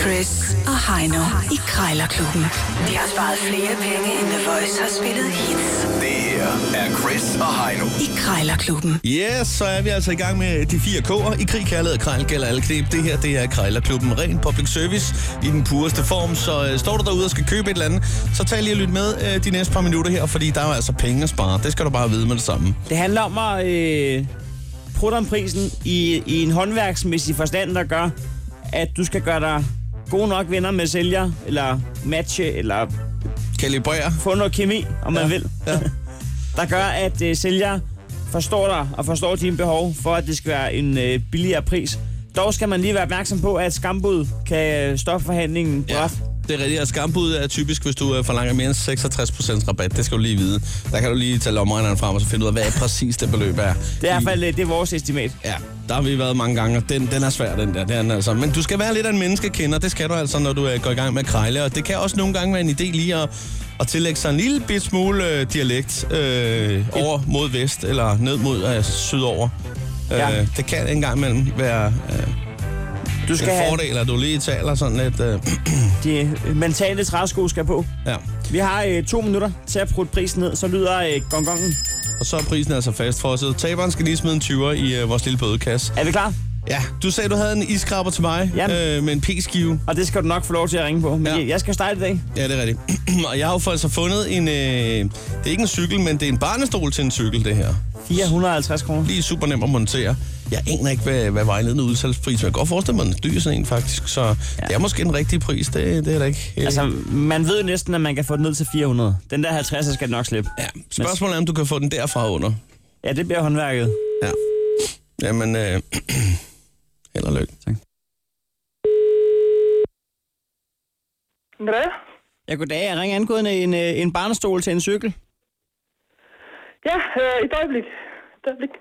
Chris og Heino i Krejlerklubben. De har sparet flere penge, end The Voice har spillet hits Det her er Chris og Heino. i Krejlerklubben. Yes, så er vi altså i gang med de fire K'er. I krig, kærlighed og krejl gælder alle knep. Det her, det er Krejlerklubben. Ren public service i den pureste form. Så øh, står du derude og skal købe et eller andet, så tag lige og lyt med øh, de næste par minutter her, fordi der er jo altså penge at spare. Det skal du bare vide med det samme. Det handler om at øh, prutte om prisen i, i en håndværksmæssig forstand, der gør, at du skal gøre dig gode nok venner med sælger, eller matche, eller Kalibrere. få noget kemi, om man Ja, vil. ja. der gør, at øh, sælger forstår dig og forstår dine behov, for at det skal være en øh, billigere pris. Dog skal man lige være opmærksom på, at skambud kan øh, stoppe forhandlingen. Ja. Det er rigtigt, at skambud er typisk, hvis du øh, forlanger mere end 66% rabat. Det skal du lige vide. Der kan du lige tage lommeregneren frem og så finde ud af, hvad præcis det beløb er. Det er i hvert fald øh, det er vores estimat. Ja, der har vi været mange gange, og den, den er svær, den der. Det er den altså. Men du skal være lidt af en menneskekender, det skal du altså, når du øh, går i gang med at krejle. Og det kan også nogle gange være en idé lige at, at tillægge sig en lille bit smule øh, dialekt øh, over mod vest, eller ned mod øh, sydover. Ja. Ja. Øh, det kan en gang imellem være øh, Du skal en have fordel, at du lige taler sådan lidt. Øh, de øh, mentale træsko skal på. ja. Vi har øh, to minutter til at prutte prisen ned, så lyder øh, gongongen. Og så er prisen altså fastfrosset. Taberen skal lige smide en 20'er i øh, vores lille bødekasse. Er vi klar? Ja, du sagde, du havde en iskraber til mig Jamen. øh, med en p-skive. Og det skal du nok få lov til at ringe på. Men Ja. ja. jeg skal starte i dag. Ja, det er rigtigt. og jeg har jo for altså fundet en... Øh, det er ikke en cykel, men det er en barnestol til en cykel, det her. 450 kroner. Lige super nem at montere. Jeg aner ikke, hvad, hvad vejledende udsalgspris er. Jeg kan godt forestille mig, at den er dyr sådan en faktisk. Så ja. det er måske en rigtig pris, det, det er der ikke. øh. Altså, man ved næsten, at man kan få den ned til 400. Den der 50 skal den nok slippe. ja. Spørgsmålet er, om du kan få den derfra under. Ja, det bliver håndværket. Ja. Jamen, øh, held og lykke. Tak. Hvad? Ja, goddag. Jeg ringer angående en, øh, en barnestol til en cykel. Ja, øh, et øjeblik. Et øjeblik.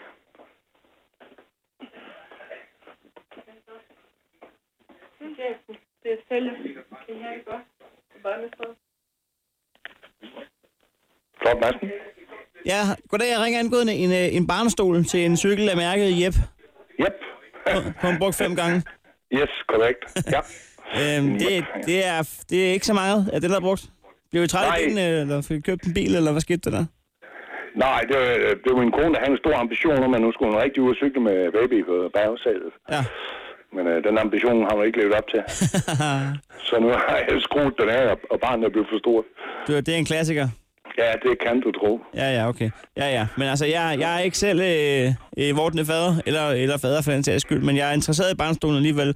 Det er Fælde. Kan I have det godt? Flot, Madsen. Ja, goddag. Jeg ringer angående en, øh, en barnestol til en cykel af mærket Jep. Yep. På en brugt fem gange. yes, korrekt. Ja. Øhm, det, det, er, det er ikke så meget af det, der er brugt. Blev I træt Nej. af den, eller fik I købt en bil, eller hvad skete der der? Nej, det var, det var min kone, der havde en stor ambition om, at nu skulle hun rigtig ud og cykle med baby på bagsalet. Ja. Men øh, den ambition har hun ikke levet op til. Så nu har jeg skruet den af, og- og barnet er blevet for stort. Du, det er en klassiker. Ja, det kan du tro. Ja, ja, okay. Ja, ja. Men altså, jeg, jeg er ikke selv øh, øh, vortende fader, eller, eller fader for den sags skyld, men jeg er interesseret i barnstolen alligevel.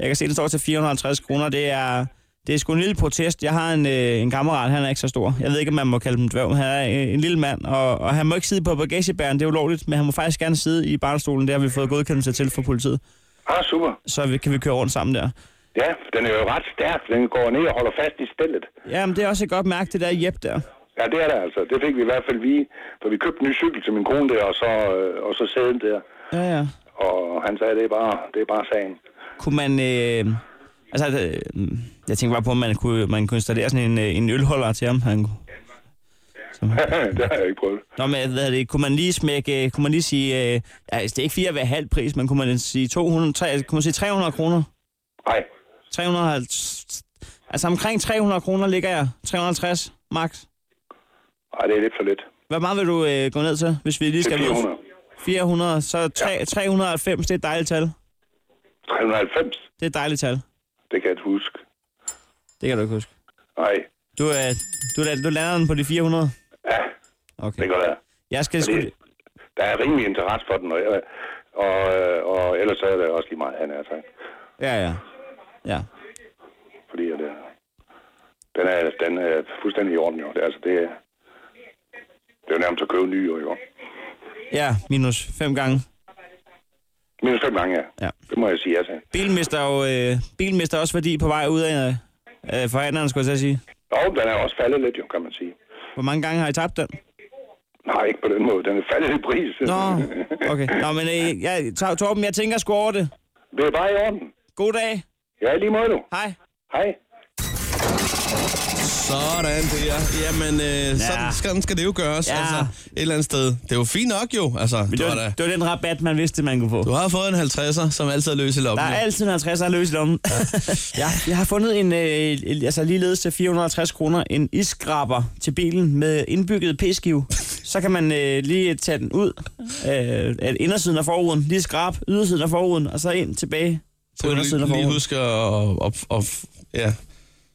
Jeg kan se, den står til 450 kroner. Det er, det er sgu en lille protest. Jeg har en, øh, en kammerat, han er ikke så stor. Jeg ved ikke, om man må kalde dem dværg, men han er øh, en lille mand, og, og han må ikke sidde på bagagebæren, det er ulovligt, men han må faktisk gerne sidde i barnstolen, det har vi fået godkendelse til fra politiet. Ah, super. Så vi, kan vi køre rundt sammen der. Ja, den er jo ret stærk. Den går ned og holder fast i stillet. Jamen, det er også et godt mærke, det der Jep der. Ja, det er der altså. Det fik vi i hvert fald vi, for vi købte en ny cykel til min kone der, og så, øh, og så sæden der. Ja, ja. Og han sagde, det er bare, det er bare sagen. kunne man... Øh, altså, øh, jeg tænkte bare på, om man kunne, man kunne installere sådan en, øh, en ølholder til ham. Han kunne. det har jeg ikke prøvet. Nå, men hvad er det? Kunne man lige smække... øh, Kunne man lige sige... Øh, altså, det er ikke fire hver halv pris, men kunne man sige 200... Tre, altså, kunne man sige 300 kroner? Nej, 350... Altså, omkring 300 kroner ligger jeg. 350 max. Nej, det er lidt for lidt. Hvor meget vil du øh, gå ned til, hvis vi lige Det skal... er ned? 400. 400. Så tre, 390, det er et dejligt tal. 390, Det er et dejligt tal. det kan jeg ikke huske. Det kan du ikke huske. Nej, Du, øh, du, du lander den på de 400? ja, Okay. det går der. Jeg skal sgu... Fordi der er rimelig interesse for den, og, jeg- og, øh, og ellers er det også lige meget, han er sagt. Ja, ja. Ja. Fordi at, øh, den, er, den er fuldstændig i orden, jo. Det, er altså, det, er- det er jo nærmest at købe en ny, jo, jo. Ja, minus fem gange. Minus fem gange, ja. Ja. Det må jeg sige, altså. Bilen mister jo øh, bilen mister også værdi på vej ud af øh, forhandleren, skulle jeg til at sige. Og den er også faldet lidt, jo, kan man sige. Hvor mange gange har I tabt den? Nej, ikke på den måde. Den er faldet i pris. Nå, okay. Nå, men øh, jeg, Tor- Torben, jeg tænker sgu over det. Det er bare i orden. God dag. Ja, i lige måde, du. Hej. Hej. Sådan der. Jamen, øh, sådan, sådan skal det jo gøres. Ja. Altså, et eller andet sted. Det er jo fint nok jo. Altså, Men du, det, har, var, da, det var den rabat, man vidste, man kunne få. du har fået en 50'er, som altid er løs i Der lommen. er jo. altid en 50'er løs i lommen. ja, jeg har fundet en, øh, en- altså ligeledes til 450 kroner, en iskraber til bilen med indbygget p-skive. Så kan man øh, lige tage den ud, øh, at indersiden af forruden, lige skrab ydersiden af forruden, og så ind tilbage Så på kan undersiden du af lige, lige forruden. huske at, at, at, at ja,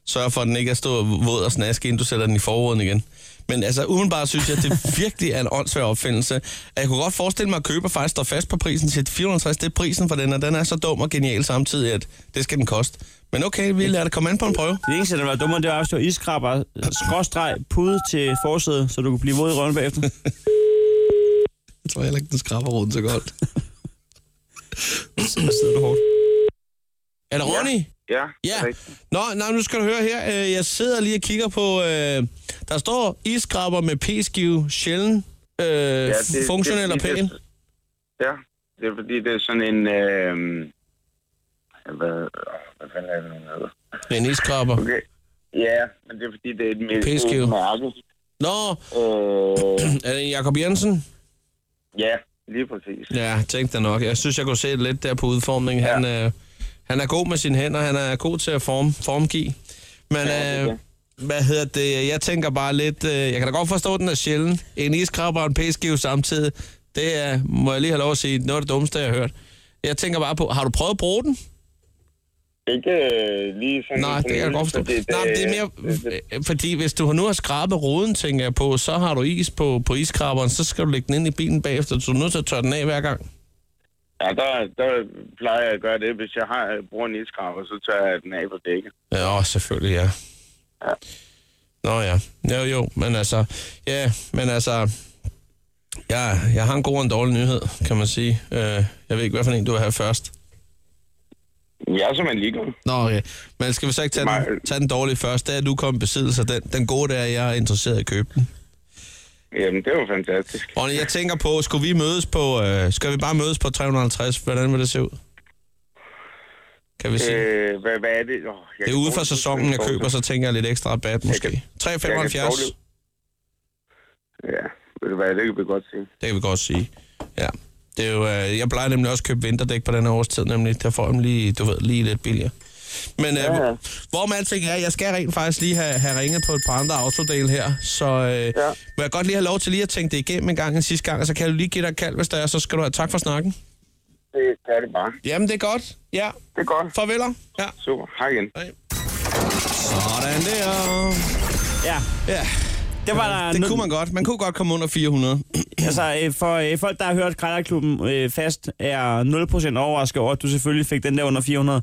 sørge for, at den ikke er stå våd og snaske, inden du sætter den i forruden igen. Men altså, umiddelbart synes jeg, at det virkelig er en åndssvær opfindelse. At Jeg kunne godt forestille mig, at køber faktisk står fast på prisen til 450. Det er prisen for den, og den er så dum og genial samtidig, at det skal den koste. Men okay, vi lader det komme an på en prøve. Det eneste, der var dummere, det var, hvis du var iskraber, skråstreg, pude til forsædet, så du kunne blive våd i røven bagefter. Jeg tror heller ikke, den skraber rundt så godt. Så sidder du hårdt. Er det Ronny? Ja, Ja. Nå, nej, nu skal du høre her. Øh, Jeg sidder lige og kigger på... øh, Der står iskraber med p-skive, sjældent, øh, ja, funktionel og det er fordi, pæn. det- Ja, det er fordi, det er sådan en... Øh, hvad, hvad fanden er det, den hedder? En iskraber. Okay. Ja, men det er fordi, det er et mere Pæskive. mærke. Nå, Øh, er det en Jacob Jensen? ja, lige præcis. Ja, tænkte jeg nok. Jeg synes, jeg kunne se det lidt der på udformningen. Ja. Han, øh, han er god med sine hænder, han er god til at form, formgive. Men Ja, ja, det øh, hvad hedder det? Jeg tænker bare lidt... Øh, jeg kan da godt forstå, at den er sjælden. En iskrabber og en p-skive samtidig. Det er, må jeg lige have lov at sige, noget af det dummeste, jeg har hørt. Jeg tænker bare på, har du prøvet at bruge den? Ikke øh, lige sådan... Nej, det kan jeg godt forstå. fordi Nej, men det er mere, øh, fordi hvis du nu har skrabet ruden, tænker jeg på, så har du is på, på iskrabberen, så skal du lægge den ind i bilen bagefter, så du er nødt til at tørre den af hver gang. Ja, der, der plejer jeg at gøre det. Hvis jeg har, bruger en iskraber, så tager jeg den af på dækket. Ja, åh, selvfølgelig, ja. Nå ja, jo jo, men altså, ja, men altså, ja, jeg har en god og en dårlig nyhed, kan man sige. Øh, jeg ved ikke, hvad for en du vil have først. Jeg er simpelthen ligeglad. Nå, okay. Men skal vi så ikke tage, den, Nej. tage den dårlige først? Det er, at du kom i besiddelse af den. Den gode, det er, at jeg er interesseret i at købe den. Jamen, det var fantastisk. Ronny, jeg tænker på, skulle vi mødes på, øh, skal vi bare mødes på 350? Hvordan vil det se ud? Kan vi sige? Øh, Øh, hvad, hvad er det? Oh, det er ude for sæsonen, jeg køber, så tænker jeg lidt ekstra rabat måske. 375, Ja, ved du hvad, det kan vi godt se. det kan vi godt sige. Ja. Det er jo, øh, jeg plejer nemlig også at købe vinterdæk på den her årstid, nemlig. Der får jeg dem lige, du ved, lige lidt billigere. Men øh, Ja, ja. hvor med alting er, jeg skal rent faktisk lige have, have ringet på et par andre autodel her, så øh, ja. må jeg godt lige have lov til lige at tænke det igennem en gang en sidste gang, og så kan du lige give dig et kald, hvis der er, så skal du have tak for snakken. Det er det bare. Jamen, det er godt. Ja, Det er godt. farveler. Ja. Super. Hej igen. Sådan der. Ja, Ja, det var der det nød- kunne man godt. Man kunne godt komme under 400. Altså, øh, for øh, folk, der har hørt Krejlerklubben øh, fast, er 0% overrasket over, at du selvfølgelig fik den der under 400.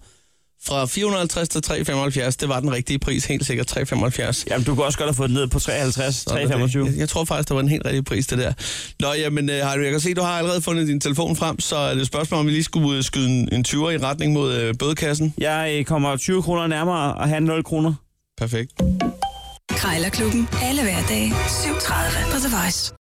Fra 450 til 375, det var den rigtige pris, helt sikkert 375. Jamen, du kunne også godt have fået den ned på 53, Sådan er det. 325. Jeg, jeg tror faktisk, det var en helt rigtig pris, det der. Nå, jamen, øh, Harry, jeg kan se, du har allerede fundet din telefon frem, så er det et spørgsmål, om vi lige skulle øh, skyde en, en 20'er i retning mod øh, bødekassen. Jeg øh, kommer 20 kroner nærmere og have 0 kroner. Perfekt. Krejlerklubben. Alle hverdage. 7.30 på The Voice.